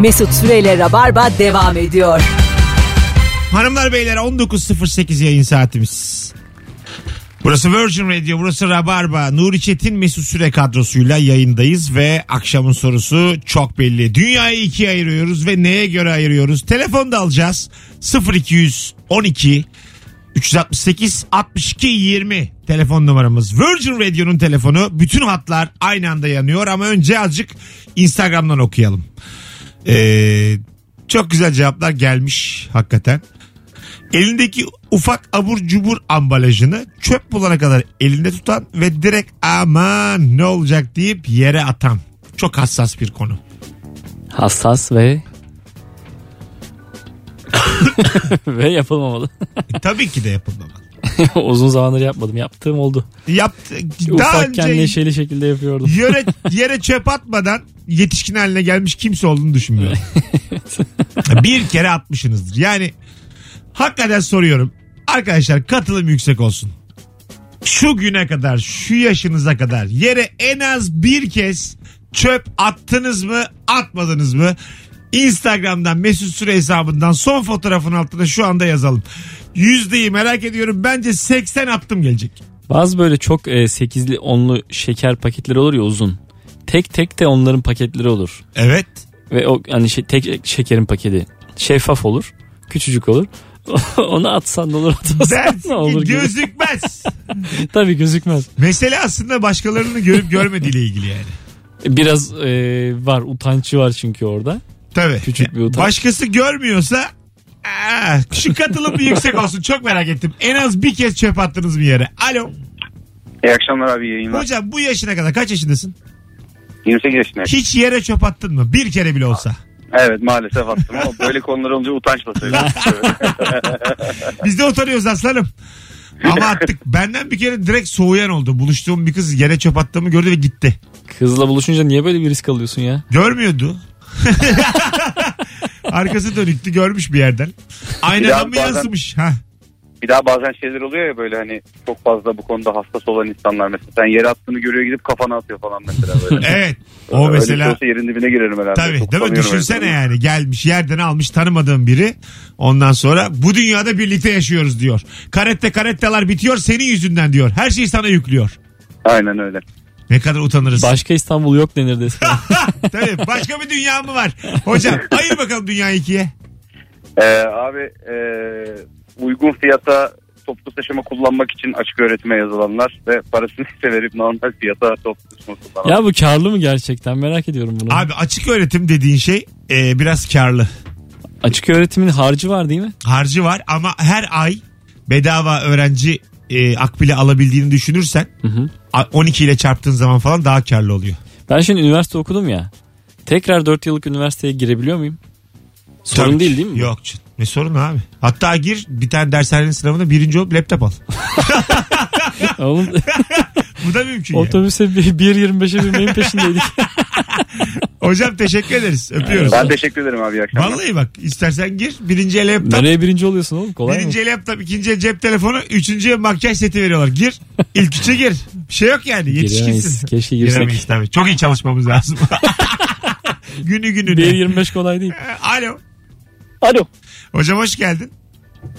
Mesut Süreyle Rabarba devam ediyor. Hanımlar beyler 19.08 yayın saatimiz. Burası Virgin Radio, burası Rabarba. Nuri Çetin, Mesut Süre kadrosuyla yayındayız ve akşamın sorusu çok belli. Dünyayı ikiye ayırıyoruz ve neye göre ayırıyoruz? Telefon da alacağız. 0212 368 62 20 telefon numaramız. Virgin Radio'nun telefonu. Bütün hatlar aynı anda yanıyor ama önce azıcık Instagram'dan okuyalım. Ee, çok güzel cevaplar gelmiş hakikaten. Elindeki ufak abur cubur ambalajını çöp bulana kadar elinde tutan ve direkt aman ne olacak deyip yere atan. Çok hassas bir konu. Hassas ve ve yapılmamalı. E, tabii ki de yapılmamalı. Uzun zamandır yapmadım. Yaptığım oldu. Yaptı, daha Ufakken önce neşeli şekilde yapıyordum. yere, yere çöp atmadan yetişkin haline gelmiş kimse olduğunu düşünmüyorum. bir kere atmışsınızdır. Yani hakikaten soruyorum. Arkadaşlar katılım yüksek olsun. Şu güne kadar, şu yaşınıza kadar yere en az bir kez çöp attınız mı, atmadınız mı? Instagram'dan Mesut Süre hesabından son fotoğrafın altına şu anda yazalım. Yüzdeyi merak ediyorum. Bence 80 attım gelecek. Bazı böyle çok e, 8'li 10'lu şeker paketleri olur ya uzun. Tek tek de onların paketleri olur. Evet. Ve o hani şey, tek şekerin paketi şeffaf olur. Küçücük olur. Onu atsan da olur atmasan Dersin da olur ki gibi. gözükmez. Tabii gözükmez. Mesele aslında başkalarını görüp görmediğiyle ilgili yani. Biraz e, var utancı var çünkü orada. Tabii. Küçük bir utanç. Başkası görmüyorsa aa, şu katılım bir yüksek olsun. Çok merak ettim. En az bir kez çöp attınız bir yere. Alo. İyi akşamlar abi yayınlar. Hocam bu yaşına kadar kaç yaşındasın? 28 yaşındayım. Hiç yere çöp attın mı? Bir kere bile olsa. Evet maalesef attım ama böyle konular olunca utanç basıyor. Biz de utanıyoruz aslanım. Ama attık. Benden bir kere direkt soğuyan oldu. Buluştuğum bir kız yere çöp attığımı gördü ve gitti. Kızla buluşunca niye böyle bir risk alıyorsun ya? Görmüyordu. Arkası dönüktü görmüş bir yerden. Aynadan Ya mı bazen- yansımış? Ha. bir daha bazen şeyler oluyor ya böyle hani çok fazla bu konuda hassas olan insanlar mesela sen yere attığını görüyor gidip kafana atıyor falan mesela böyle. Evet. O Öyle mesela bir şey olsa yerin dibine girerim herhalde. Tabii Çok değil mi? utanıyorum Düşünsene yani. yani gelmiş yerden almış tanımadığım biri. Ondan sonra bu dünyada birlikte yaşıyoruz diyor. Karette karettalar bitiyor senin yüzünden diyor. Her şeyi sana yüklüyor. Aynen öyle. Ne kadar utanırız. Başka İstanbul yok denir desin. Tabii başka bir dünya mı var? Hocam ayır bakalım dünyayı ikiye. Ee, abi e, uygun fiyata toplu taşıma kullanmak için açık öğretime yazılanlar ve parasını ise verip normal fiyata toplu taşıma kullananlar. ya bu karlı mı gerçekten merak ediyorum bunu. Abi açık öğretim dediğin şey e, biraz karlı. Açık öğretimin harcı var değil mi? Harcı var ama her ay bedava öğrenci e, akbili alabildiğini düşünürsen hı. a- 12 ile çarptığın zaman falan daha karlı oluyor. Ben şimdi üniversite okudum ya. Tekrar 4 yıllık üniversiteye girebiliyor muyum? Sorun Tabii değil ki. değil mi? bu? Yok canım. Ne sorun abi? Hatta gir bir tane dershanenin sınavına birinci olup laptop al. Oğlum, Bu da mümkün yani. otobüse bir- 1.25'e binmeyin peşindeydik. Hocam teşekkür ederiz. Öpüyoruz. Ben teşekkür ederim abi iyi akşamlar. Vallahi bak istersen gir. Birinci el laptop. Nereye birinci oluyorsun oğlum? Kolay Birinci el laptop, ikinci el cep telefonu, üçüncü el makyaj seti veriyorlar. Gir. İlk üçe gir. Bir şey yok yani. mı? Giremeyiz. Yetişkinsin. Keşke Giremeyiz girsek. tabii. Çok iyi çalışmamız lazım. günü gününe. 1.25 kolay değil. Alo. Alo. Hocam hoş geldin.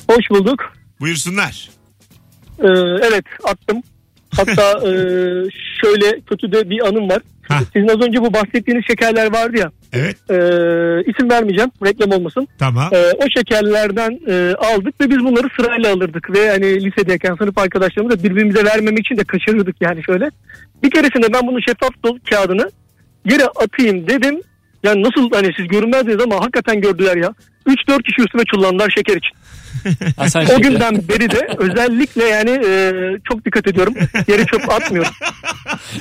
Hoş bulduk. Buyursunlar. Ee, evet attım. Hatta e, şöyle kötü de bir anım var. Hah. Sizin az önce bu bahsettiğiniz şekerler vardı ya. Evet E, isim vermeyeceğim. Reklam olmasın. tamam. E, o şekerlerden e, aldık ve biz bunları sırayla alırdık. Ve hani lisedeyken sınıf arkadaşlarımı da birbirimize vermemek için de kaçırırdık yani şöyle. Bir keresinde ben bunun şeffaf dolu kağıdını yere atayım dedim. Yani nasıl hani siz görünmezdiniz ama hakikaten gördüler ya. 3-4 kişi üstüme çullandılar şeker için. Ha, sen O şey- günden beri de özellikle yani e, çok dikkat ediyorum. Yere çöp atmıyorum.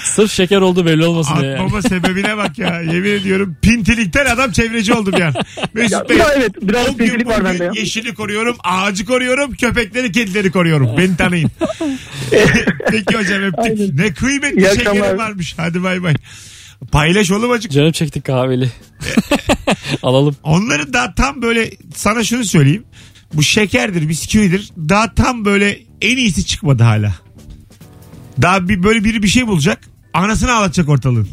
Sırf şeker oldu belli olmasın diye. yani. Atmama sebebine bak ya. Yemin ediyorum pintilikten adam çevreci oldu bir an. Mesut Bey. Ya evet biraz o gün sevgilik var bugün bende ya. yeşili koruyorum, ağacı koruyorum, köpekleri, kedileri koruyorum. Beni tanıyın. Peki hocam öptük. Aynen. Ne kıymetli İyi şekerim akşamlar. varmış. Hadi bay bay. Paylaş oğlum acık. Canım çekti kahveli. Alalım. Onların daha tam böyle sana şunu söyleyeyim. Bu şekerdir, bisküvidir. Daha tam böyle en iyisi çıkmadı hala. Daha bir böyle biri bir şey bulacak. Anasını ağlatacak ortalığın.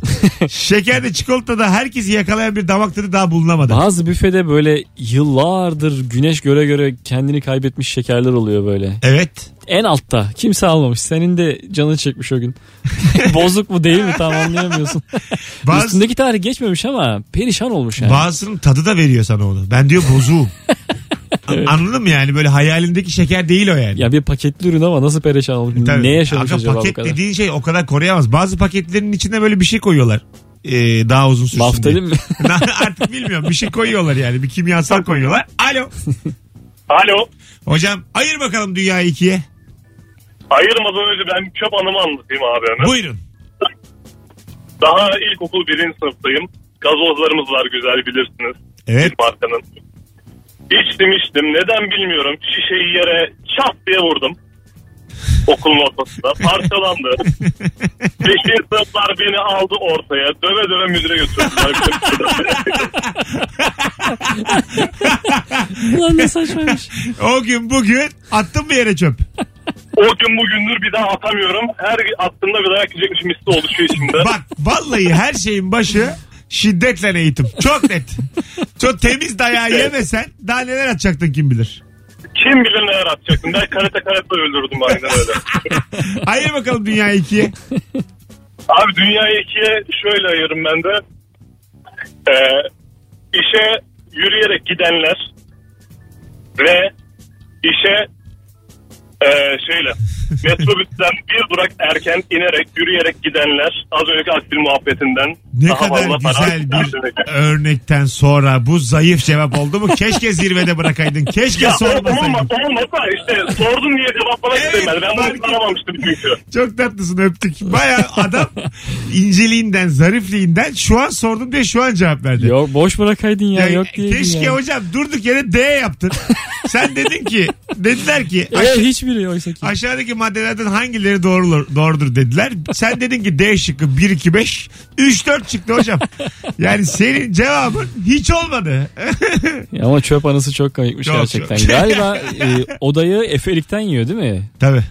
Şekerde çikolatada herkesi yakalayan bir damak tadı daha bulunamadı. Bazı büfede böyle yıllardır güneş göre göre kendini kaybetmiş şekerler oluyor böyle. Evet. En altta kimse almamış. Senin de canını çekmiş o gün. Bozuk mu değil mi tam anlayamıyorsun. Bazı, Üstündeki tarih geçmemiş ama perişan olmuş yani. bazısının tadı da veriyor sana onu. Ben diyor bozuğum. An- Anladın mı yani? Böyle hayalindeki şeker değil o yani. ya bir paketli ürün ama nasıl perişan olmuş? Tabii. Ne yaşamış Aga, acaba bu paket kadar? dediğin şey o kadar koruyamaz. Bazı paketlerin içinde böyle bir şey koyuyorlar. Ee, daha uzun sürsün diye. Baftalin mi? Artık bilmiyorum. Bir şey koyuyorlar yani. Bir kimyasal koyuyorlar. Alo. Alo. Hocam ayır bakalım dünyayı ikiye. Ayırmadan önce ben çöp anımı anlatayım abi hemen. Buyurun. Daha ilkokul birinci sınıftayım. Gazozlarımız var güzel bilirsiniz. Evet. Bir markanın. İçtim içtim neden bilmiyorum. Şişeyi yere çat diye vurdum. Okulun ortasında parçalandı. Beşinci sınıflar beni aldı ortaya. Döve döve müdüre götürdüler. Ulan ne saçmaymış. O gün bugün attın mı yere çöp? o gün bugündür bir daha atamıyorum. Her attığımda bir dayak yiyecekmişim hissi oluşuyor içimde. Bak vallahi her şeyin başı şiddetle eğitim. Çok net. Çok temiz dayağı yemesen daha neler atacaktın kim bilir. Kim bilir neler atacaktım. Ben karate karate öldürdüm aynen öyle. Ayır bakalım dünyayı ikiye. Abi dünyayı ikiye şöyle ayırırım ben de. Ee, işe yürüyerek gidenler ve işe e, şöyle metrobüsten bir durak erken inerek yürüyerek gidenler az önceki akbil muhabbetinden Ne daha kadar fazla para güzel bir harcayacak. örnekten sonra bu zayıf cevap oldu mu? Keşke zirvede bırakaydın. Keşke ya olmaz sormasaydın. olmaz işte sordun diye cevap bana Evet, istemedi. Ben fark bunu anlamamıştım çünkü. Çok tatlısın öptük. Baya adam inceliğinden, zarifliğinden şu an sordum diye şu an cevap verdi. Yok boş bırakaydın ya, Ya, e, yok diye. keşke ya. hocam durduk yere D yaptın. Sen dedin ki dediler ki Ee, aşa- hiçbiri oysa ki. aşağıdaki maddelerden hangileri doğrudur, doğrudur dediler. Sen dedin ki D şıkkı 1 2 5 3 4 çıktı hocam. Yani senin cevabın hiç olmadı. Ya Ama çöp anısı çok komikmiş Çok, gerçekten. çok. Galiba e, odayı efelikten yiyor değil mi? tabii.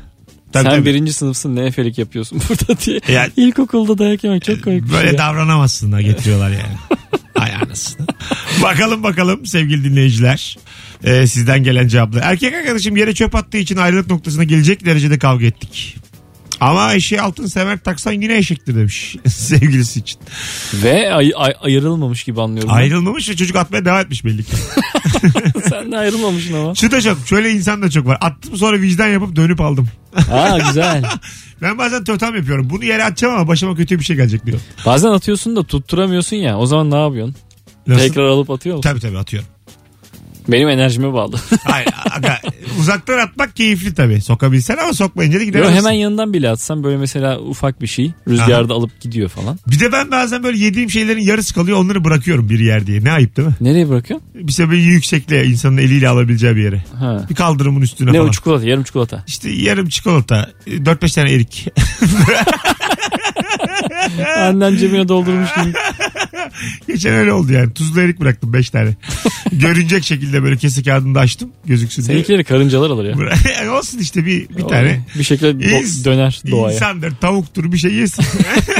Tabii, Sen tabii. birinci sınıfsın ne efelik yapıyorsun burada diye. Ya- e, İlkokulda dayak yemek çok komik bir Böyle şey. ya. davranamazsın da getiriyorlar yani. Ay anasını. bakalım bakalım sevgili dinleyiciler. Ee, sizden gelen cevaplar. Erkek arkadaşım yere çöp attığı için ayrılık noktasına gelecek derecede kavga ettik. Ama eşeğe altın sever taksan yine eşektir demiş sevgilisi için. Ve ay- ay- ayrılmamış gibi anlıyorum. ben. Ayrılmamış ve çocuk atmaya devam etmiş belli ki. Sen de ayrılmamışsın ama. Şu da çok şöyle insan da çok var. Attım sonra vicdan yapıp dönüp aldım. Aa güzel. Ben bazen totem yapıyorum. Bunu yere atacağım ama başıma kötü bir şey gelecek diyor. Bazen atıyorsun da tutturamıyorsun ya. O zaman ne yapıyorsun? Nasıl? Tekrar alıp atıyor musun? Tabii tabii atıyorum. Benim enerjime bağlı. Hayır, aga, uzaktan atmak keyifli tabii. Sokabilsen ama sokmayınca da Yo, gidemezsin. hemen yanından bile atsam böyle mesela ufak bir şey rüzgarda alıp gidiyor falan. Bir de ben bazen böyle yediğim şeylerin yarısı kalıyor onları bırakıyorum bir yer diye. Ne ayıp değil mi? Nereye bırakıyorsun? Bir sebebi yüksekliğe insanın eliyle alabileceği bir yere. Ha. Bir kaldırımın üstüne Ne falan. o çikolata yarım çikolata. İşte yarım çikolata, 4-5 tane erik. Ee? Annen cebine doldurmuş gibi. Geçen öyle oldu yani. Tuzlu erik bıraktım 5 tane. Görünecek şekilde böyle kese kağıdını da açtım. Gözüksün diye. Seninkileri karıncalar alır ya. Bıra- Olsun işte bir, bir tane. Bir şekilde do- İns- döner doğaya. İnsandır, tavuktur bir şey yesin.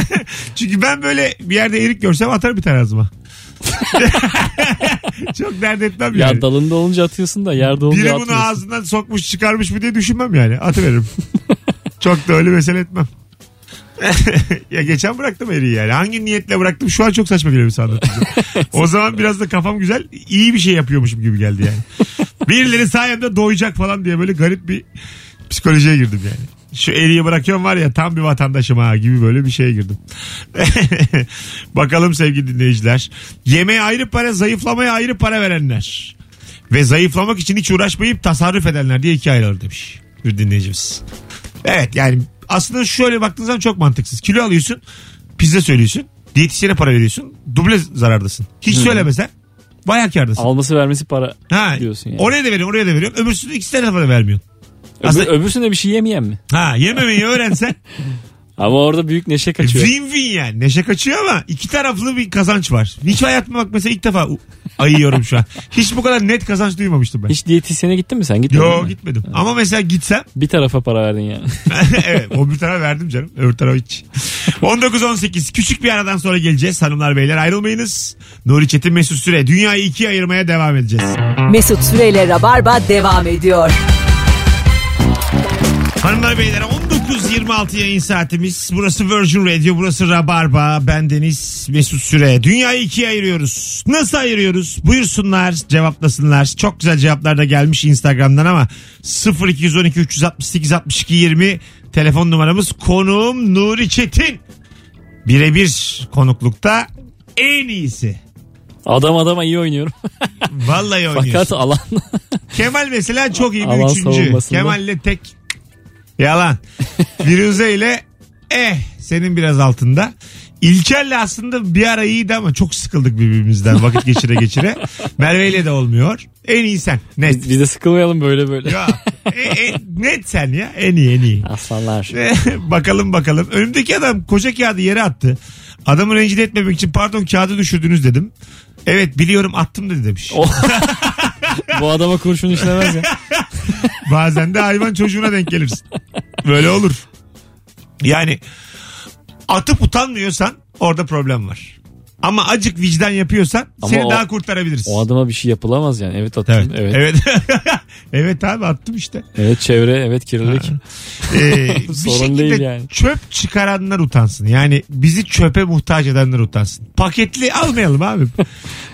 Çünkü ben böyle bir yerde erik görsem atarım bir tane ağzıma. Çok dert etmem yani. Ya dalında olunca atıyorsun da yerde olunca Biri bunu atmıyorsun. ağzından sokmuş çıkarmış mı diye düşünmem yani. Atıveririm. çok da öyle mesele etmem. ya geçen bıraktım eriği yani. Hangi niyetle bıraktım şu an çok saçma geliyor bir anlatınca. o zaman biraz da kafam güzel iyi bir şey yapıyormuşum gibi geldi yani. Birileri sayemde doyacak falan diye böyle garip bir psikolojiye girdim yani. Şu eriği bırakıyorum var ya tam bir vatandaşım ha gibi böyle bir şeye girdim. Bakalım sevgili dinleyiciler. Yemeğe ayrı para, zayıflamaya ayrı para verenler. Ve zayıflamak için hiç uğraşmayıp tasarruf edenler diye ikiye ayrılır demiş bir dinleyicimiz. Evet yani aslında şöyle baktığınız zaman çok mantıksız. Kilo alıyorsun, pizza söylüyorsun, diyetisyene para veriyorsun, duble zarardasın. Hiç söylemesen bayağı kârdasın. Alması vermesi para. Ha, diyorsun yani. Oraya da veriyorsun, oraya da veriyorsun. Öbürsünü ikisi tarafa da vermiyorsun. Öbür, Aslında- öbürsüne bir şey yemeyen mi? Ha yememeyi öğrensen Ama orada büyük neşe kaçıyor. Win win yani. Neşe kaçıyor ama iki taraflı bir kazanç var. Hiç hayatımda bak mesela ilk defa u- ayıyorum şu an. Hiç bu kadar net kazanç duymamıştım ben. Hiç diyetisyene gittin mi sen? Gitmedin Yo mi? gitmedim. Ama mesela gitsem Bir tarafa para verdin ya. evet o bir tarafa verdim canım. Öbür tarafa hiç. 19-18 küçük bir aradan sonra geleceğiz. Hanımlar beyler ayrılmayınız. Nuri Çetin Mesut Süre dünyayı ikiye ayırmaya devam edeceğiz. Mesut Süreyle Rabarba devam ediyor. Hanımlar beyler 19.26 yayın saatimiz. Burası Virgin Radio, burası Rabarba. Ben Deniz Mesut Süre. Dünyayı ikiye ayırıyoruz. Nasıl ayırıyoruz? Buyursunlar, cevaplasınlar. Çok güzel cevaplar da gelmiş Instagram'dan ama 0212 368 62 20 telefon numaramız. Konuğum Nuri Çetin. Birebir konuklukta en iyisi. Adam adama iyi oynuyorum. Vallahi oynuyorsun. Fakat alan Kemal mesela çok iyi bir Alan üçüncü. savunmasında. Kemal'le tek yalan. Firuze ile eh senin biraz altında. İlker'le aslında bir ara iyiydi ama çok sıkıldık birbirimizden vakit geçire geçire. Merve'yle de olmuyor. En iyi sen. Net. biz, biz de sıkılmayalım böyle böyle. ya, e, e, net sen ya. En iyi en iyi. Aslanlar. bakalım bakalım. Önümdeki adam koca kağıdı yere attı. Adamı rencide etmemek için pardon kağıdı düşürdünüz dedim. Evet biliyorum attım dedi demiş. O- Bu adama kurşun işlemez ya. Bazen de hayvan çocuğuna denk gelirsin. Böyle olur. Yani atıp utanmıyorsan orada problem var. Ama acık vicdan yapıyorsan Ama seni o- daha kurtarabiliriz. O adama bir şey yapılamaz yani. Evet attım. Evet. Evet. Evet, Evet. evet abi attım işte. çevre. Evet kirlilik. Ee, bir Sorun şekilde değil yani. çöp çıkaranlar utansın. Yani bizi çöpe muhtaç edenler utansın. Paketli almayalım abi.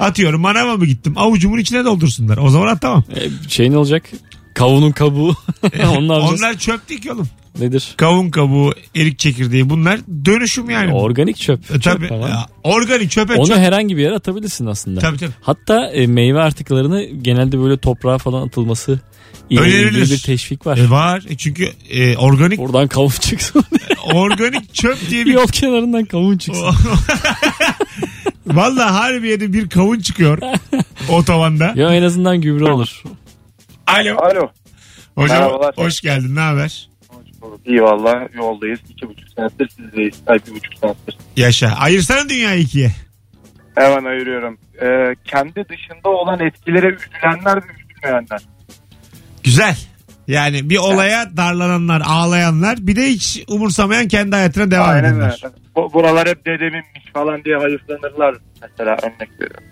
Atıyorum manava mı gittim? Avucumun içine doldursunlar. O zaman atamam. E, şey ne olacak? Kavunun kabuğu. Onu ne yapacağız? Onlar çöp değil ki oğlum. Nedir? kavun kabuğu, erik çekirdeği bunlar dönüşüm yani. Organik çöp. E, Çöp tabii. tamam. Ya, Organik çöpe Onu çöp. herhangi bir yere atabilirsin aslında. Tabii tabii. Hatta e, meyve artıklarını genelde böyle toprağa falan atılması ile Önerilir. ilgili bir teşvik var. E, var. E, çünkü e, organik Oradan kavun çıksın. organik çöp diye bir Yol kenarından kavun Oh. çıksın. Vallahi harbiyede bir kavun çıkıyor o tavanda. ya en azından gübre olur. Alo. Alo. Hocam Merhabalar. hoş geldin. Ne haber? İyi valla yoldayız. İki buçuk saattir sizdeyiz. Ay bir buçuk saattir. Yaşa. Ayırsana dünyayı ikiye. Hemen ayırıyorum. Ee, kendi dışında olan etkilere üzülenler ve üzülmeyenler. Güzel. Yani bir olaya darlananlar, ağlayanlar bir de hiç umursamayan kendi hayatına devam Aynen edenler. öyle. Bu- Buralar hep dedeminmiş falan diye hayıflanırlar. Mesela örnek veriyorum.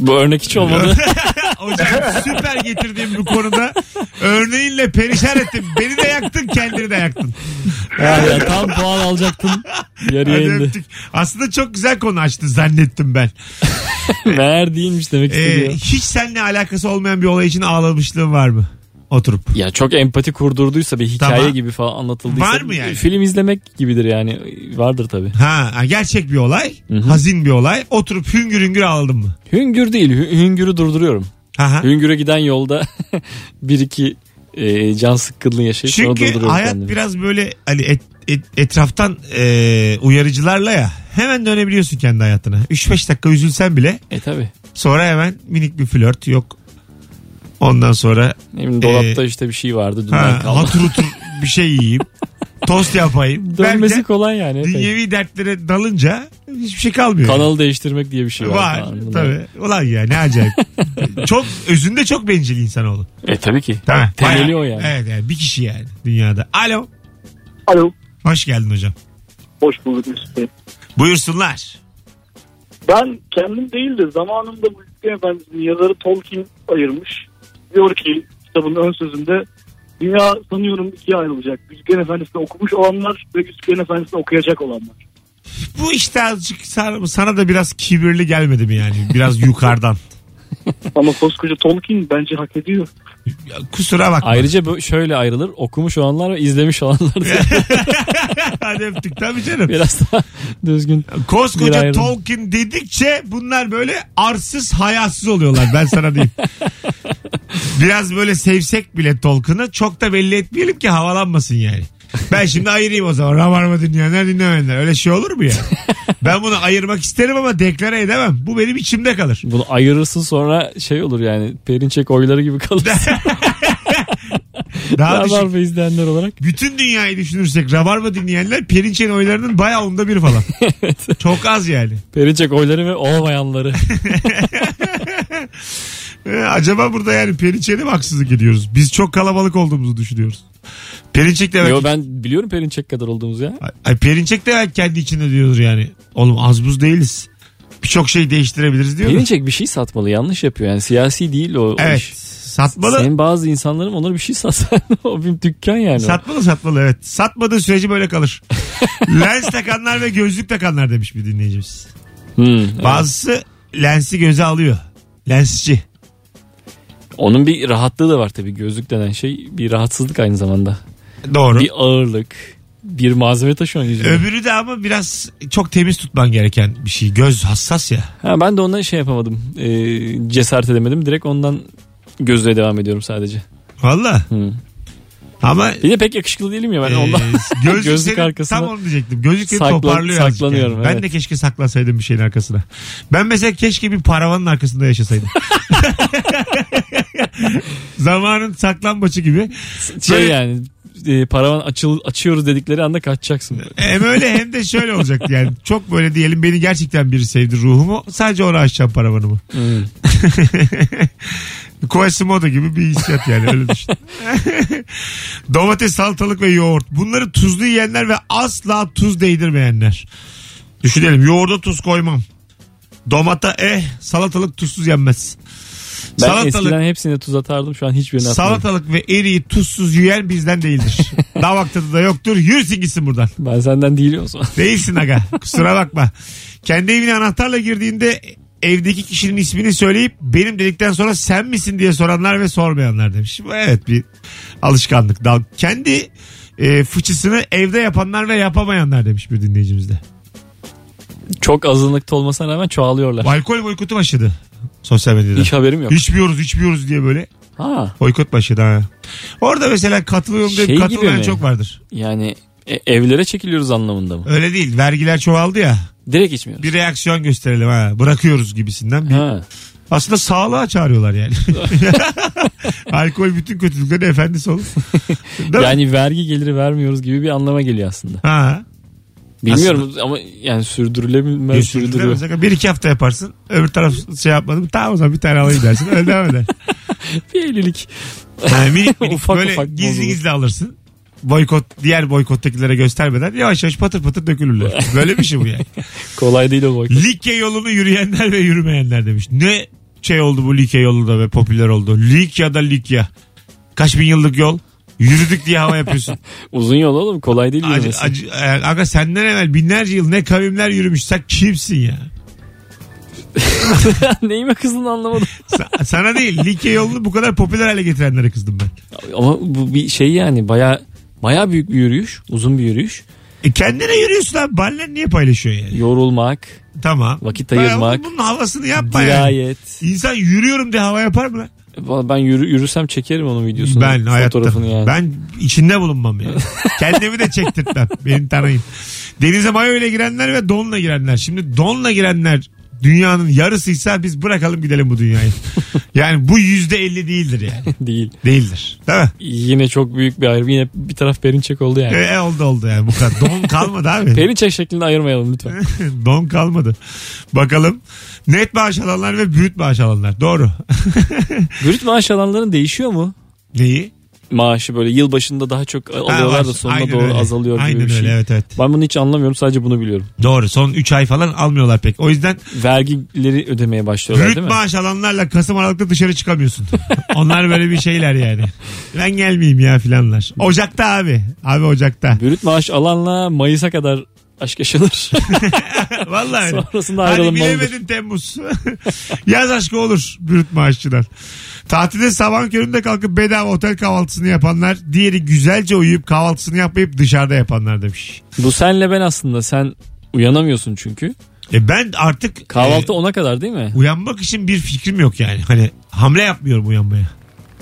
Bu örnek hiç olmadı. Hocam süper getirdiğim bu konuda örneğinle perişan ettin. Beni de yaktın kendini de yaktın. Ya tam puan alacaktın. Yarıya Hadi indi. öptük. Aslında çok güzel konu açtı zannettim ben. Meğer değilmiş demek Ee, istediği. hiç seninle alakası olmayan bir olay için ağlamışlığın var mı? Oturup. Ya çok empati kurdurduysa bir hikaye Tamam. gibi falan anlatıldıysa. Var mı yani? Film izlemek gibidir yani. Vardır tabii. Ha ha, gerçek bir olay. Hazin bir olay. Oturup hüngür hüngür ağladın mı? Hüngür değil. hü- hüngürü durduruyorum. Aha. Hüngür'e giden yolda bir iki e, can sıkkınlığı yaşayıp sonra Çünkü durduruyorum hayat kendimi. biraz böyle hani et- et- etraftan e, uyarıcılarla ya hemen dönebiliyorsun kendi hayatına. 3-5 dakika üzülsen bile E tabi. sonra hemen minik bir flört yok. Ondan sonra Ne bileyim, dolapta işte bir şey vardı dünden Ee, ha, kaldı. hatır hutur bir şey yiyeyim. Tost yapayım. Dönmesi Belki- kolay yani. epey. dünyevi dertlere dalınca hiçbir şey kalmıyor. Kanalı değiştirmek diye bir şey var. var falan. Bunlar- tabii. Ulan ya ne acayip. çok özünde çok bencil insanoğlu. E tabii ki. Tamam. Temeli Bayağı- o yani. Evet yani bir kişi yani dünyada. Alo. Alo. Hoş geldin hocam. Hoş bulduk Mesut Bey. Buyursunlar. Ben kendim değil de zamanımda bu Yüzüklerin Efendisi'nin yazarı Tolkien ayırmış. Diyor ki kitabın ön sözünde dünya sanıyorum ikiye ayrılacak. Yüzüklerin Efendisi'ni okumuş olanlar ve Yüzüklerin Efendisi'ni okuyacak olanlar. Bu işte azıcık sana, sana da biraz kibirli gelmedi mi yani? Biraz yukarıdan. Ama koskoca Tolkien bence hak ediyor. Ya Kusura bakma. Ayrıca bu şöyle ayrılır. Okumuş olanlar ve izlemiş olanlar diye Hadi öptük tabii canım. biraz daha düzgün. Bir Koskoca ayrım. Tolkien dedikçe bunlar böyle arsız hayasız oluyorlar ben sana diyeyim. Biraz böyle sevsek bile Tolkien'ı çok da belli etmeyelim ki havalanmasın yani. Ben şimdi ayırayım o zaman. Rabarba dinleyenler dinlemeyenler. Öyle şey olur mu ya? Ben bunu ayırmak isterim ama deklare edemem. Bu benim içimde kalır. Bunu ayırırsın sonra şey olur yani. Perinçek oyları gibi kalır. Daha düşük. Rabarba izleyenler olarak. Bütün dünyayı düşünürsek Rabarba dinleyenler Perinçe'nin oylarının bayağı onda bir falan. Çok az yani. Perinçek oyları ve olmayanları. Ee, acaba burada yani Perinçek'e mi haksızlık ediyoruz? Biz çok kalabalık olduğumuzu düşünüyoruz. Perinçek de belki, Yo ben biliyorum Perinçek kadar olduğumuzu ya. Ay, Perinçek de belki kendi içinde diyordur yani. Oğlum az buz değiliz. Birçok şey değiştirebiliriz diyor. Perinçek bir şey satmalı yanlış yapıyor yani siyasi değil o, o Evet. iş. Satmalı. Senin bazı insanların onlara bir şey satsan o bir dükkan yani. o. Satmalı satmalı evet. Satmadığı süreci böyle kalır. Lens takanlar ve gözlük takanlar demiş bir dinleyicimiz. Hmm, evet. Bazısı lensi göze alıyor. Lensçi. Onun bir rahatlığı da var tabii gözlük denen şey bir rahatsızlık aynı zamanda. Doğru. Bir ağırlık bir malzeme taşıyorsun yüzüne. Öbürü de ama biraz çok temiz tutman gereken bir şey. Göz hassas ya. Ha, ben de ondan şey yapamadım Ee, cesaret edemedim direkt ondan gözlüğe devam ediyorum sadece. Valla. Hı. Ama Bir de pek yakışıklı değilim ya ben Ee, ondan gözlük, Gözlük senin, arkasına Tam onu diyecektim. Gözlük seni saklan- toparlıyor azıcık saklanıyorum, yani. Ben evet. de keşke saklasaydım bir şeyin arkasına. Ben mesela keşke bir paravanın arkasında yaşasaydım. Zamanın saklambaçı gibi. şey Böyle- yani e, paravan açıl, açıyoruz dedikleri anda kaçacaksın. Hem öyle hem de şöyle olacaktı yani. Çok böyle diyelim beni gerçekten biri sevdi ruhumu. Sadece ona açacağım paravanımı. Hmm. Quasimodo gibi bir hissiyat yani öyle düşün. Domates, salatalık ve yoğurt. Bunları tuzlu yiyenler ve asla tuz değdirmeyenler. Düşünelim yoğurda tuz koymam. Domata eh salatalık tuzsuz yenmez. Ben salatalık eskiden hepsine tuz atardım şu an hiçbirine atmadım. salatalık ve eriği tuzsuz yiyen bizden değildir. Damak tadı da yoktur. Yürüsün gitsin buradan. Ben senden değilim o zaman. Değilsin aga. Kusura bakma. Kendi evine anahtarla girdiğinde evdeki kişinin ismini söyleyip benim dedikten sonra sen misin diye soranlar ve sormayanlar demiş. Bu evet bir alışkanlık. Dal- Kendi e, fıçısını evde yapanlar ve yapamayanlar demiş bir dinleyicimiz de. Çok azınlıkta olmasına rağmen çoğalıyorlar. Alkol boykotu başladı sosyal medyada. Hiç haberim yok. İçmiyoruz içmiyoruz diye böyle Ha boykot başladı ha. Orada mesela katılıyorum diye Şey gibi katılmayan mi? çok vardır. yani e, evlere çekiliyoruz anlamında mı? Öyle değil vergiler çoğaldı ya Direkt içmiyoruz. bir reaksiyon gösterelim ha bırakıyoruz gibisinden bir Ha. Aslında sağlığa çağırıyorlar yani. Alkol bütün kötülüklerin efendisi olur. Değil mi? Yani vergi geliri vermiyoruz gibi bir anlama geliyor aslında. Ha. Bilmiyorum ama yani sürdürülebilmez sürdürüyor. Mesela Bir iki hafta yaparsın. Öbür taraf şey yapmadım. Tamam o zaman bir tane alayım dersin. Öyle devam eder. Bir evlilik. Yani minik minik Ufak böyle ufak gizli bozulur. gizli alırsın. Boykot diğer boykottakilere göstermeden yavaş yavaş patır patır dökülürler. Böyle bir şey bu yani. Kolay değil o boy. Likya yolunu yürüyenler ve yürümeyenler demiş. Ne şey oldu bu Likya yolu da ve popüler oldu. Likya'da Likya. Kaç bin yıllık yol. Yürüdük diye hava yapıyorsun. Uzun yol oğlum kolay değil Acı, yürümesi. acı, e, aga senden evvel binlerce yıl ne kavimler yürümüş. Sen kimsin ya? Neyime kızdın anlamadım. Sa- sana değil. Likya yolunu bu kadar popüler hale getirenlere kızdım ben. Ama bu bir şey yani baya baya büyük bir yürüyüş. Uzun bir yürüyüş. E kendine yürüyorsun abi. Balen niye paylaşıyor yani? Yorulmak, Tamam. Vakit Ben- ayırmak. Bunun havasını yapma yani. dirayet. İnsan yürüyorum diye hava yapar mı? lan? Valla Ben yürü, yürüsem çekerim onun videosunu. Ben hayatta. fotoğrafını yani. Ben içinde bulunmam yani. Kendimi de çektirtmem. Beni tanıyın. Denize mayo ile girenler ve donla girenler. Şimdi donla girenler dünyanın yarısıysa biz bırakalım gidelim bu dünyayı. yani bu yüzde elli değildir yani. Değil. Değildir. Değil mi? Yine çok büyük bir ayrım. Yine bir taraf Perinçek oldu yani. E, oldu oldu yani bu kadar. Don kalmadı abi. Perinçek şeklinde ayırmayalım lütfen. Don kalmadı. Bakalım. Net maaş alanlar ve brüt maaş alanlar. Doğru. Brüt maaş alanların değişiyor mu? Neyi? Maaşı böyle yıl başında daha çok Ha, var. alıyorlar da sonuna Aynen doğru öyle. azalıyor gibi Aynen bir şey. öyle evet evet. Ben bunu hiç anlamıyorum sadece bunu biliyorum. Doğru son 3 ay falan almıyorlar pek. O yüzden Vergileri ödemeye başlıyorlar brüt değil mi? maaş alanlarla Kasım Aralık'ta dışarı çıkamıyorsun. Onlar böyle bir şeyler yani. Ben gelmeyeyim ya filanlar. Ocak'ta abi. Abi Ocak'ta. Brüt maaş alanla Mayıs'a kadar aşk yaşanır. Vallahi öyle. Sonrasında Hadi ayrılmalıdır. bilemedin Temmuz. Yaz aşkı olur brüt maaşçılar. Tatilde sabah köründe kalkıp bedava otel kahvaltısını yapanlar. Diğeri güzelce uyuyup kahvaltısını yapmayıp dışarıda yapanlar demiş. Bu senle ben aslında sen uyanamıyorsun çünkü. E ben artık Kahvaltı e, ona kadar değil mi? uyanmak için bir fikrim yok yani. Hani hamle yapmıyorum uyanmaya.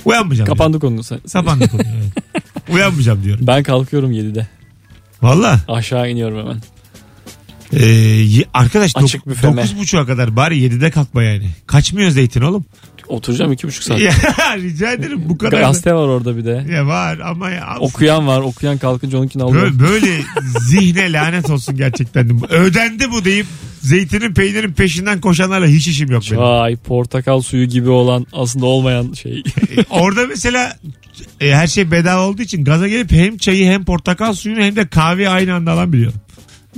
Uyanmayacağım. diyorum. Kapandı konu. Sen, Kapandı konu. evet. Uyanmayacağım diyorum. Ben kalkıyorum 7'de. Valla. Aşağı iniyorum hemen. E, y- arkadaş dok- Açık büfeme. 9.30'a kadar bari 7'de kalkma yani. Kaçmıyor zeytin oğlum. Oturacağım iki buçuk saat. Ya, rica ederim bu kadar. da- Gazete var orada bir de. Ya var ama ya. Okuyan var. Okuyan kalkınca onunkini alıyor. Böyle, böyle zihne lanet olsun gerçekten. Ödendi bu deyip zeytinin peynirin peşinden koşanlarla hiç işim yok benim. Çay, portakal suyu gibi olan aslında olmayan şey. E, Orada mesela e, her şey bedava olduğu için gaza gelip hem çayı hem portakal suyunu hem de kahveyi aynı anda alan biliyorum.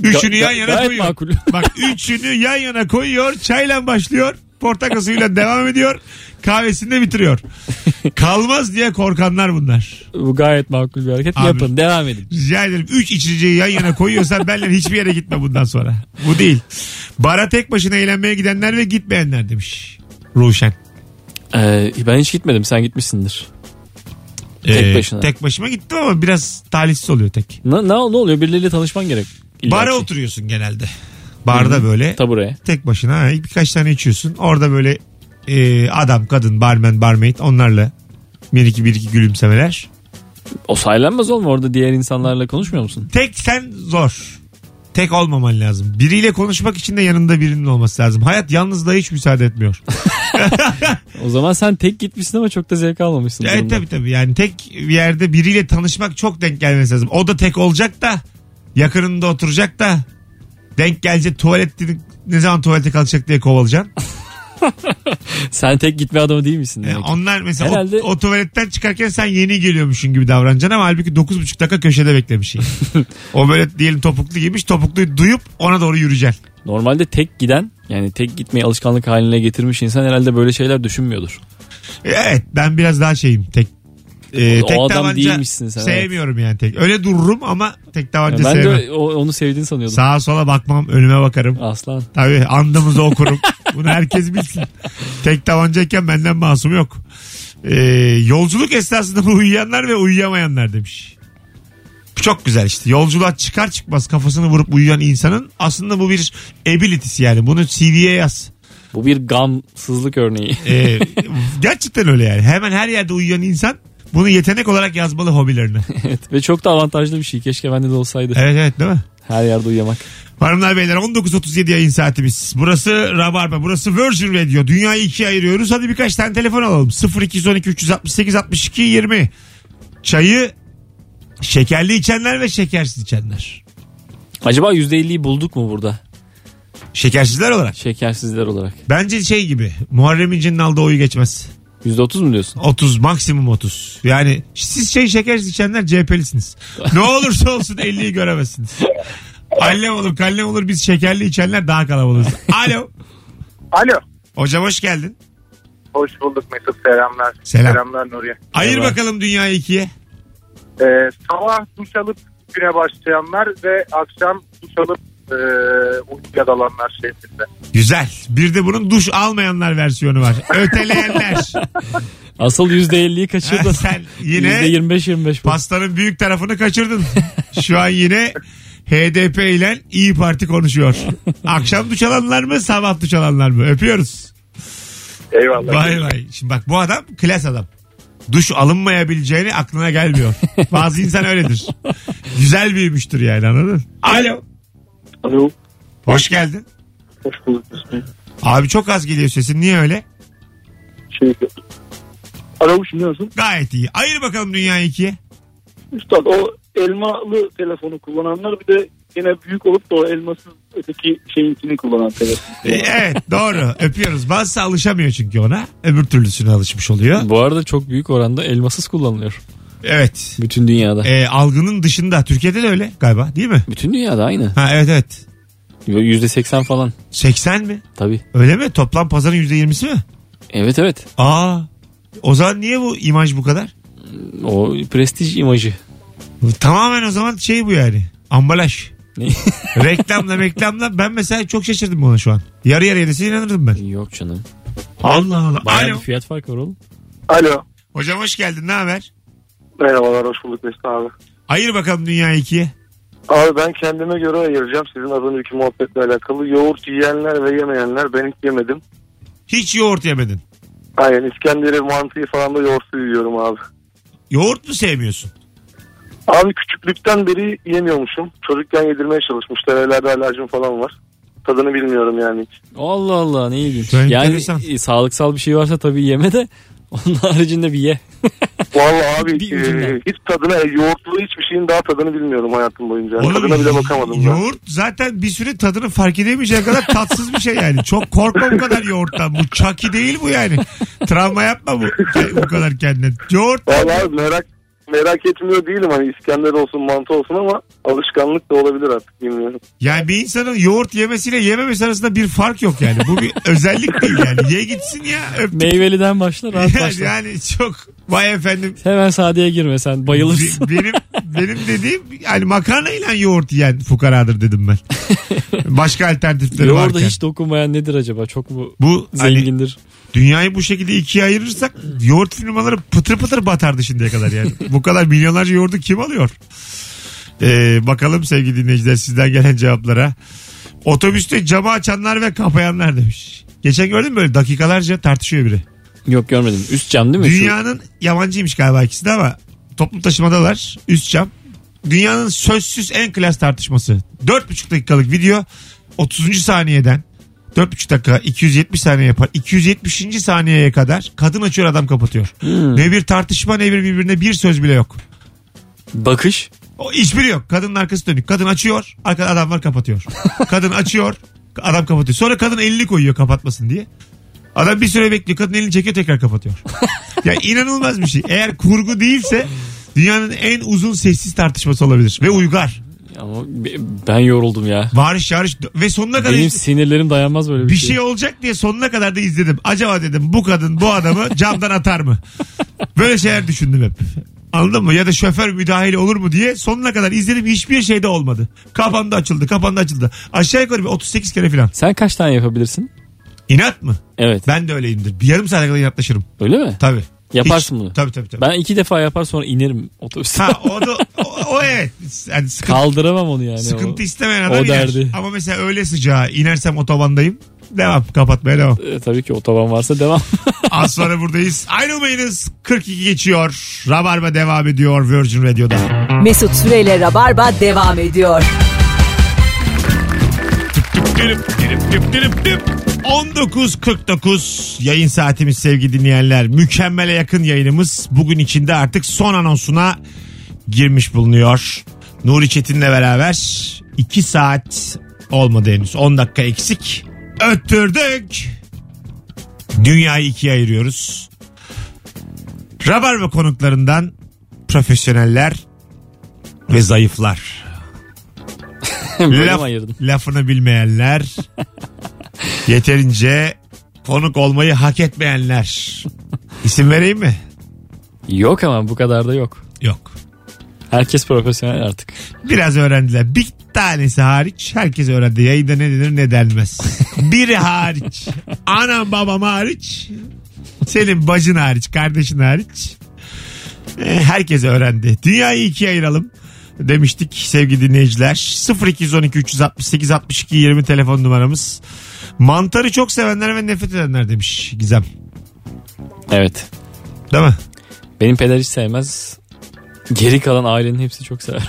Üçünü Ga- yan ga- yana gayet koyuyor. makul. Bak üçünü yan yana koyuyor. Çayla başlıyor. Portakal suyuyla devam ediyor. Kahvesini de bitiriyor. Kalmaz diye korkanlar bunlar. Bu gayet makul bir hareket. Abi. Yapın devam edin. Rica ederim. Üç içeceği yan yana koyuyorsan benimle hiçbir yere gitme bundan sonra. Bu değil. Bara tek başına eğlenmeye gidenler ve gitmeyenler demiş. Ruşen. Ee, ben hiç gitmedim sen gitmişsindir. Tek başına. Ee, Tek başıma gittim ama biraz talihsiz oluyor tek. Ne, ne, ne oluyor birileriyle tanışman gerek. İlla Bara ki. oturuyorsun genelde. Barda böyle Tabureye. tek başına ha, birkaç tane içiyorsun. Orada böyle e, adam, kadın, barmen, barmaid onlarla bir iki bir iki gülümsemeler. O saylanmaz oğlum orada diğer insanlarla konuşmuyor musun? Tek sen zor. Tek olmaman lazım. Biriyle konuşmak için de yanında birinin olması lazım. Hayat yalnızlığa hiç müsaade etmiyor. O zaman sen tek gitmişsin ama çok da zevk almamışsın. Evet durumdan. E, tabii tabii yani tek bir yerde biriyle tanışmak çok denk gelmesi lazım. O da tek olacak da yakınında oturacak da denk gelecek tuvalet dedi- ne zaman tuvalete kalkacak diye kovalayacaksın. Sen tek gitme adamı değil misin? Yani demek ki? onlar mesela Herhalde- o, o tuvaletten çıkarken sen yeni geliyormuşsun gibi davranacaksın ama halbuki 9,5 dakika köşede beklemiş. yani. o böyle diyelim topuklu giymiş topukluyu duyup ona doğru yürüyeceksin. Normalde tek giden yani tek gitmeyi alışkanlık haline getirmiş insan herhalde böyle şeyler düşünmüyordur. E, Evet ben biraz daha şeyim tek. e, O- o adam değilmişsin sen, evet. Sevmiyorum yani tek. Öyle dururum ama tek tabanca ben sevmem. de o- onu sevdiğini sanıyordum. Sağa sola bakmam önüme bakarım. Aslan. Tabii andımızı okurum. Bunu herkes bilsin. Tek tabancayken benden masum yok. Ee, yolculuk esnasında uyuyanlar ve uyuyamayanlar demiş. Bu çok güzel işte. Yolculuğa çıkar çıkmaz kafasını vurup uyuyan insanın aslında bu bir ability'si yani. Bunu CV'ye yaz. Bu bir gamsızlık örneği. Ee, gerçekten öyle yani. Hemen her yerde uyuyan insan bunu yetenek olarak yazmalı hobilerine. evet. Ve çok da avantajlı bir şey. Keşke bende de olsaydı. Evet evet değil mi? Her yerde uyuyamak. Hanımlar beyler 19.37 yayın saatimiz. Burası Rabarba, burası Virgin Radio. Dünyayı ikiye ayırıyoruz. Hadi birkaç tane telefon alalım. 0212 368 62 20. Çayı şekerli içenler ve şekersiz içenler. Acaba %50'yi bulduk mu burada? Şekersizler olarak. Şekersizler olarak. Bence şey gibi Muharrem İnce'nin aldığı oyu geçmez. %30 mu diyorsun? 30 maksimum 30. Yani siz şey şekersiz içenler CHP'lisiniz. Ne olursa olsun 50'yi göremezsiniz. Allem olur kallem olur biz şekerli içenler daha kalabalığız. Alo. Alo. Hocam hoş geldin. Hoş bulduk Mesut selamlar. Selam. Selamlar Nuriye. Ayır Merhaba. bakalım dünyayı ikiye. Ee, sabah duş alıp güne başlayanlar ve akşam duş alıp e, uykuya dalanlar şeklinde. Güzel. Bir de bunun duş almayanlar versiyonu var. Öteleyenler. Asıl %50'yi Ha, kaçırdın. Sen yine %25-25 bu. pastanın büyük tarafını kaçırdın. Şu an yine HDP ile İyi Parti konuşuyor. Akşam duş alanlar mı sabah duş alanlar mı? Öpüyoruz. Eyvallah. Vay vay. Şimdi bak bu adam klas adam. Duş alınmayabileceğini aklına gelmiyor. Bazı insan öyledir. Güzel büyümüştür yani anladın? Alo. Alo. Hoş geldin. Hoş bulduk Mesut Bey. Abi çok az geliyor sesin. Niye öyle? Şey, Alo şimdi nasıl? Gayet iyi. Ayır bakalım dünyayı ikiye. Üstad o elmalı telefonu kullananlar bir de yine büyük olup da o elmasız öteki şeyinkini kullanan telefon. Ee, Evet doğru öpüyoruz. Bazısı alışamıyor çünkü ona. Öbür türlüsüne alışmış oluyor. Bu arada çok büyük oranda elmasız kullanılıyor. Evet. Bütün dünyada. Ee, algının dışında Türkiye'de de öyle galiba değil mi? Bütün dünyada aynı. Ha evet evet. %80 falan. 80 mi? Tabii. Öyle mi? Toplam pazarın %20'si mi? Evet evet. Aa. O zaman niye bu imaj bu kadar? O prestij imajı. Tamamen o zaman şey bu yani. Ambalaj. Ne? reklamla reklamla ben mesela çok şaşırdım buna şu an. Yarı yarıya dese inanırdım ben. Yok canım. Allah Allah. Bayağı Alo. bir fiyat farkı var oğlum. Alo. Hocam hoş geldin ne haber? Merhabalar hoş bulduk Mesut abi. Ayır bakalım dünyayı ikiye. Abi ben kendime göre ayıracağım sizin az önceki muhabbetle alakalı. Yoğurt yiyenler ve yemeyenler ben hiç yemedim. Hiç yoğurt yemedin. Aynen İskender'e mantıyı falan da yoğurtlu yiyorum abi. Yoğurt mu sevmiyorsun? Abi küçüklükten beri yemiyormuşum. Çocukken yedirmeye çalışmışlar. Evlerde alerjim falan var. Tadını bilmiyorum yani hiç. Allah Allah ne ilginç. Enteresan. Yani e, sağlıksal bir şey varsa tabii yeme de onun haricinde bir ye. Vallahi abi Bir ucundan. e, hiç tadına yoğurtlu hiçbir şeyin daha tadını bilmiyorum hayatım boyunca. Oğlum, tadına bile bakamadım ben. Yoğurt zaten bir süre tadını fark edemeyeceğin kadar tatsız bir şey yani. Çok korkma bu kadar yoğurttan. Bu çaki değil bu yani. Travma yapma bu, bu kadar kendine. Yoğurt Vallahi abi merak merak etmiyor değilim hani İskender olsun mantı olsun ama alışkanlık da olabilir artık bilmiyorum. yani bir insanın yoğurt yemesiyle yememesi arasında bir fark yok yani. Bu bir özellik değil yani. Ye gitsin ya öptük. Meyveliden başla rahat Yani, başla. yani çok vay efendim. Hemen sadeye girme sen bayılırsın. Be- benim benim dediğim yani makarnayla yoğurt yiyen fukaradır dedim ben. Başka alternatifleri Yoğurda varken. hiç dokunmayan nedir acaba? Çok mu Bu hani zengindir? Dünyayı bu şekilde ikiye ayırırsak yoğurt firmaları pıtır pıtır batardı şimdiye kadar yani. bu kadar milyonlarca yoğurdu kim alıyor? Ee, bakalım sevgili dinleyiciler sizden gelen cevaplara. Otobüste camı açanlar ve kapayanlar demiş. Geçen gördün mü böyle dakikalarca tartışıyor biri. Yok görmedim. Üst cam değil mi? Şu- Dünyanın yabancıymış galiba ikisi de ama toplu taşımadalar üst cam. Dünyanın sözsüz en klas tartışması. 4,5 dakikalık video 30. saniyeden 4,5 dakika 270 saniye yapar. 270. saniyeye kadar kadın açıyor adam kapatıyor. Hmm. Ne bir tartışma ne bir birbirine bir söz bile yok. Bakış. O hiçbiri yok. Kadının arkası dönük. Kadın açıyor, arkada adam var kapatıyor. Kadın açıyor, adam kapatıyor. Sonra kadın elini koyuyor kapatmasın diye. Adam bir süre bekliyor. Kadın elini çekiyor tekrar kapatıyor. ya inanılmaz bir şey. Eğer kurgu değilse dünyanın en uzun sessiz tartışması olabilir. Ve uygar. Ama be- ben yoruldum ya. Bağırış çağırış ve sonuna kadar Benim iz- sinirlerim dayanmaz böyle bir, bir şey olacak diye sonuna kadar da izledim. Acaba dedim bu kadın bu adamı camdan atar mı? Böyle şeyler düşündüm hep. Anladın mı? Ya da şoför müdahil olur mu diye sonuna kadar izledim hiçbir şey de olmadı. Kafamda açıldı, kafamda açıldı. Aşağı yukarı bir 38 kere falan. Sen kaç tane yapabilirsin? İnat mı? Evet. Ben de öyleyimdir. Bir yarım saate kadar inatlaşırım. Öyle mi? Tabii. Yaparsın Hiç- bunu. Tabii tabii tabii. Ben iki defa yapar sonra inerim otobüsten. Ha o da o, o evet. Yani sıkıntı, Kaldıramam onu yani. sıkıntı O- istemeyen o adam iner. derdi. Ama mesela öyle sıcağı inersem otobandayım. Devam. Kapatmaya devam. E, tabii ki otoban varsa devam. Az sonra buradayız. Ayrılmayınız. 42 geçiyor. Rabarba devam ediyor Virgin Radio'da. Mesut Süreyle Rabarba devam ediyor. Dürüp, dürüp, dürüp, dürüp, dürüp. 19.49 yayın saatimiz sevgili dinleyenler. Mükemmele yakın yayınımız bugün içinde artık son anonsuna girmiş bulunuyor. Nuri Çetin'le beraber 2 saat olmadı henüz. 10 dakika eksik. Öttürdük. Dünyayı ikiye ayırıyoruz. Rabarba konuklarından profesyoneller ve zayıflar. Böyle Laf- mi ayırdın? Lafını bilmeyenler. yeterince konuk olmayı hak etmeyenler. İsim vereyim mi? Yok ama bu kadar da yok. Yok. Herkes profesyonel artık. Biraz öğrendiler. Bir tanesi hariç herkes öğrendi. Yayında ne denir ne denmez. Biri hariç. Anam babam hariç. Senin bacın hariç. Kardeşin hariç. E, Herkes öğrendi. Dünyayı ikiye ayıralım demiştik sevgili dinleyiciler. 0212 368 62 20 telefon numaramız. Mantarı çok sevenler ve nefret edenler demiş Gizem. Evet. Değil mi? Benim peder hiç sevmez. Geri kalan ailenin hepsi çok sever.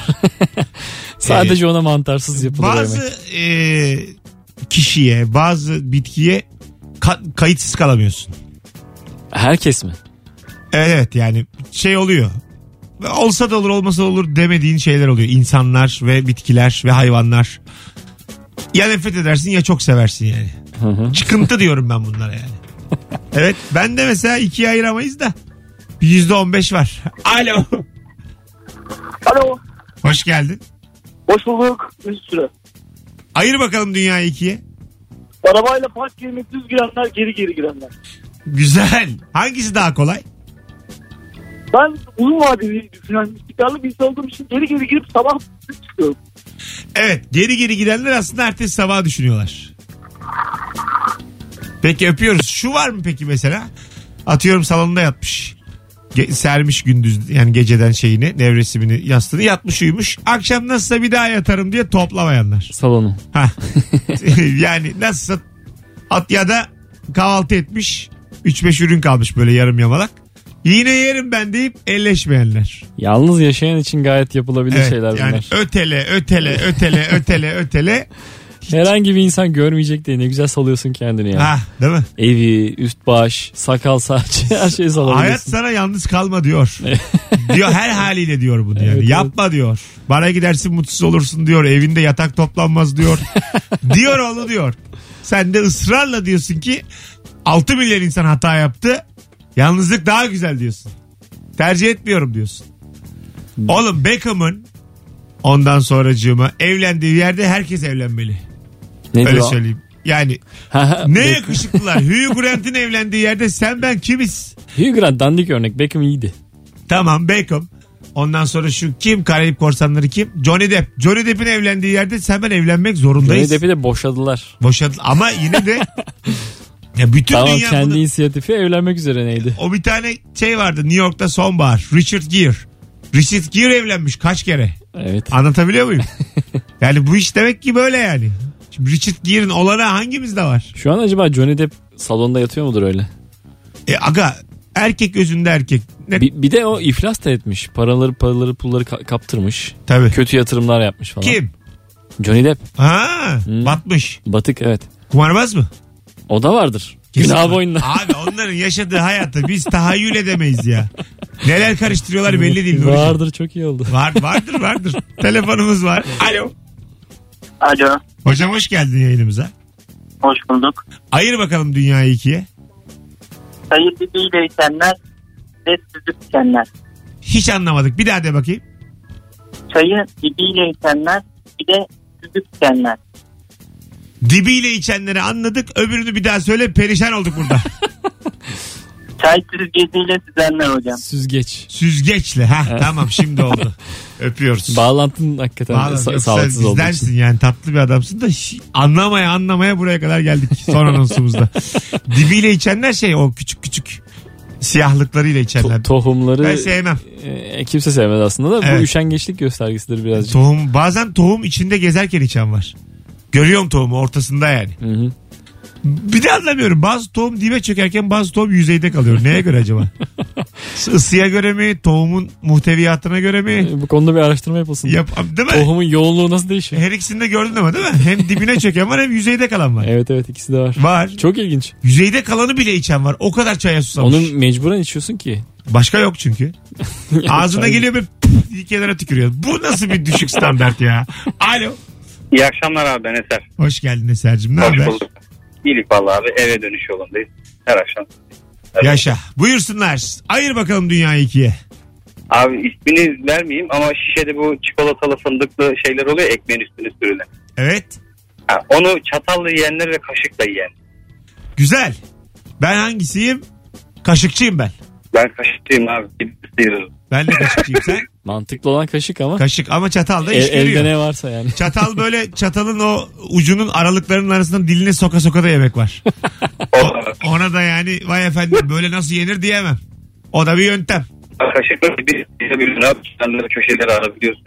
Sadece ona mantarsız yapılır yemek. Ee, Bazı e, kişiye, bazı bitkiye ka- kayıtsız kalamıyorsun. Herkes mi? Evet evet yani şey oluyor. Olsa da olur olmasa da olur demediğin şeyler oluyor. İnsanlar ve bitkiler ve hayvanlar. Ya nefret edersin ya çok seversin yani. Çıkıntı diyorum ben bunlara yani. Evet ben de mesela ikiye ayıramayız da. Bir Yüzde on beş var. Alo. Alo Hoş geldin. hoş bulduk Mesut Süre. Ayır bakalım dünyayı ikiye. Arabayla park yerine düz girenler geri geri girenler. Güzel. Hangisi daha kolay? Ben uzun vadeli düşünen istikrarlı bir insan olduğum için geri geri girip sabah çıkıyorum. Evet geri geri gidenler aslında ertesi sabah düşünüyorlar. Peki öpüyoruz. Şu var mı peki mesela? Atıyorum salonda yatmış. Ge- sermiş gündüz yani geceden şeyini nevresimini yastığını yatmış uyumuş. Akşam nasılsa bir daha yatarım diye toplamayanlar. Salonu. Hah. yani nasılsa at ya da kahvaltı etmiş. 3-5 ürün kalmış böyle yarım yamalak. Yine yerim ben deyip elleşmeyenler. Yalnız yaşayan için gayet yapılabilir şeyler bunlar. Ötele, ötele, ötele, ötele, ötele. Herhangi bir insan görmeyecek diye ne güzel salıyorsun kendini ya. Ha, değil mi? Evi, üst baş, sakal saç her şeyi Hayat salabilirsin. sana yalnız kalma diyor. diyor her haliyle diyor bunu yani. Evet, evet. Yapma diyor. Bana gidersin mutsuz olursun diyor. Evinde yatak toplanmaz diyor. diyor onu diyor. Sen de ısrarla diyorsun ki 6 milyon insan hata yaptı. Yalnızlık daha güzel diyorsun. Tercih etmiyorum diyorsun. Hmm. Oğlum Beckham'ın ondan sonracığıma evlendiği yerde herkes evlenmeli. Ne Öyle şey. diyor? söyleyeyim. Yani Ha, ne Beck- yakışıklılar. Hugh Grant'in evlendiği yerde sen ben kimiz? Hugh Grant dandik örnek. Beckham iyiydi. Tamam Beckham. Ondan sonra şu kim? Karayip korsanları kim? Johnny Depp. Johnny Depp'in evlendiği yerde sen ben evlenmek zorundayız. Johnny Depp'i de boşadılar. Boşadı. Ama yine de ya bütün Tamam dünya kendi bunu- inisiyatifi evlenmek üzere neydi? O bir tane şey vardı New York'ta sonbahar. Richard Gere. Richard Gere evlenmiş kaç kere. Evet. Anlatabiliyor muyum? yani bu iş demek ki böyle yani. Şimdi Richard Gere'in olanağı hangimizde var? Şu an acaba Johnny Depp salonda yatıyor mudur öyle? E aga erkek özünde erkek. Ne? Bir, bir de o iflas da etmiş. Paraları paraları pulları ka- kaptırmış. Tabii. Kötü yatırımlar yapmış falan. Kim? Johnny Depp. Ha, Hmm. batmış. Batık evet. Kumarbaz mı? O da vardır. Kesin Günah var. boynuna. Abi onların yaşadığı hayatı biz tahayyül edemeyiz ya. Neler karıştırıyorlar belli değil. Nurcuğum. Vardır çok iyi oldu. Var, vardır vardır. Telefonumuz var. Alo. Alo, Hocam hoş geldin yayınımıza. hoş bulduk. Ayır bakalım dünyayı ikiye. Sayısı değil değişenler ve süzüp içenler. Hiç anlamadık. Bir daha de bakayım. Çayı dibiyle içenler bir de süzüp içenler. Dibiyle içenleri anladık. Öbürünü bir daha söyle. Perişan olduk burada. Çay süzgeciyle süzenler hocam. Süzgeç. Süzgeçle. Ha tamam şimdi oldu. Öpüyoruz. Bağlantın hakikaten Vallahi sa- sen sağlıksız olduğu için. bizdensin yani tatlı bir adamsın da hi- anlamaya anlamaya buraya kadar geldik son anonsumuzda. Dibiyle içenler şey o küçük küçük siyahlıklarıyla içenler. To- tohumları ben sevmem. e, kimse sevmez aslında da Evet. bu üşengeçlik göstergesidir birazcık. Tohum bazen tohum içinde gezerken içen var. Görüyorum tohumu ortasında yani. Hı hı. Bir de anlamıyorum. Bazı tohum dibe çökerken bazı tohum yüzeyde kalıyor. Neye göre acaba? Isıya göre mi? Tohumun muhteviyatına göre mi? E, Bu konuda bir araştırma yapılsın. Yap, değil mi? Tohumun yoğunluğu nasıl değişiyor? Her ikisini de gördün ama değil mi? Hem dibine çöken var hem yüzeyde kalan var. Evet evet ikisi de var. Var. Çok ilginç. Yüzeyde kalanı bile içen var. O kadar çaya susamış. Onu mecburen içiyorsun ki. Başka yok çünkü. Ağzına Çay- geliyor bir püf diye kenara tükürüyor. Bu nasıl bir düşük standart ya? Alo. İyi akşamlar abi ben Eser. Hoş geldin Eser'cim. Ne haber? İyilik vallahi abi eve dönüş yolundayız. Her akşam. Yaşa. Buyursunlar. Ayır bakalım dünyayı ikiye. Abi ismini vermeyeyim ama şişede bu çikolatalı fındıklı şeyler oluyor ya, ekmeğin üstüne sürülen. Evet. Ha, onu çatalla yiyenler ve kaşıkla yiyen. Güzel. Ben hangisiyim? Kaşıkçıyım ben. Ben kaşıkçıyım abi. Gidip sıyırırım. Ben de kaşıkçıyım sen. Mantıklı olan kaşık ama Kaşık ama çatal da e- iş görüyor. elde ne varsa yani. Çatal böyle çatalın o ucunun aralıklarının arasından diline soka soka da yemek var. O- ona da yani vay efendim böyle nasıl yenir diyemem. O da bir yöntem. Kaşıkla bir sıyırabilirsin abi. Kenarları köşeleri arabiliyorsun.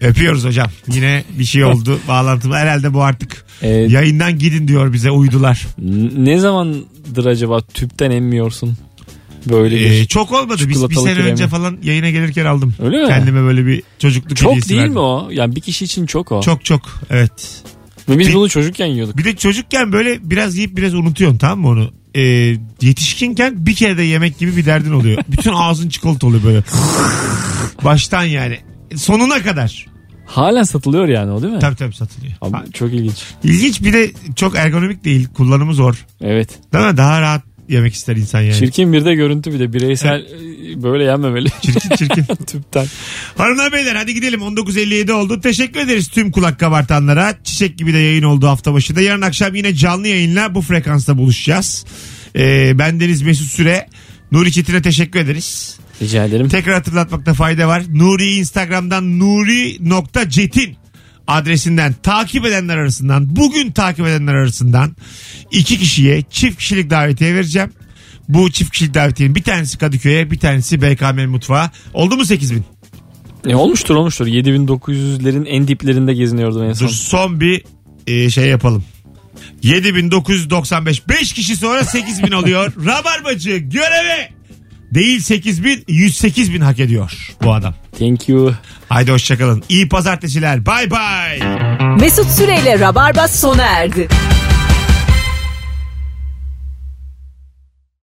Öpüyoruz hocam. Yine bir şey oldu bağlantım. Herhalde bu artık E, yayından gidin diyor bize uydular. n- ne zamandır acaba tüpten emmiyorsun? Böyle bir. şey. Ee, çok olmadı. Biz bir Çikolatalı sene kremi. önce falan yayına gelirken aldım. Öyle mi? Kendime böyle bir çocukluk çok hediyesi değil verdim. mi o? Yani bir kişi için çok o. Çok çok evet. Ve biz Bir- bunu çocukken yiyorduk. Bir de çocukken böyle biraz yiyip biraz unutuyorsun tamam mı onu? Ee, yetişkinken bir kere de yemek gibi bir derdin oluyor. Bütün ağzın çikolata oluyor böyle. Baştan yani. Sonuna kadar. Halen satılıyor yani o değil mi? Tabii tabii satılıyor. Abi, Ha, çok ilginç. İlginç bir de çok ergonomik değil. Kullanımı zor. Evet. Değil mi? Daha rahat yemek ister insan yani. Çirkin bir de görüntü bir de bireysel e, böyle yenmemeli Çirkin çirkin. tüpten. Hanımlar beyler hadi gidelim 19.57 oldu. Teşekkür ederiz tüm kulak kabartanlara. Çiçek gibi de yayın oldu hafta başında. Yarın akşam yine canlı yayınla bu frekansta buluşacağız. Ee, ben Deniz Mesut Süre. Nuri Çetin'e teşekkür ederiz. Rica ederim. Tekrar hatırlatmakta fayda var. Nuri Instagram'dan nuri.cetin adresinden takip edenler arasından bugün takip edenler arasından iki kişiye çift kişilik davetiye vereceğim. Bu çift kişilik davetiyenin bir tanesi Kadıköy'e bir tanesi BKM Mutfağı. Oldu mu 8000? E, olmuştur olmuştur. 7900'lerin en diplerinde geziniyordum en son. Dur son bir e, şey yapalım. 7995. 5 kişi sonra 8000 oluyor. Rabarbacı göreve değil 8 bin 108 bin hak ediyor bu adam. Thank you. Haydi hoşçakalın. İyi pazartesiler. Bay bay. Mesut Süreyle Rabarba sona erdi.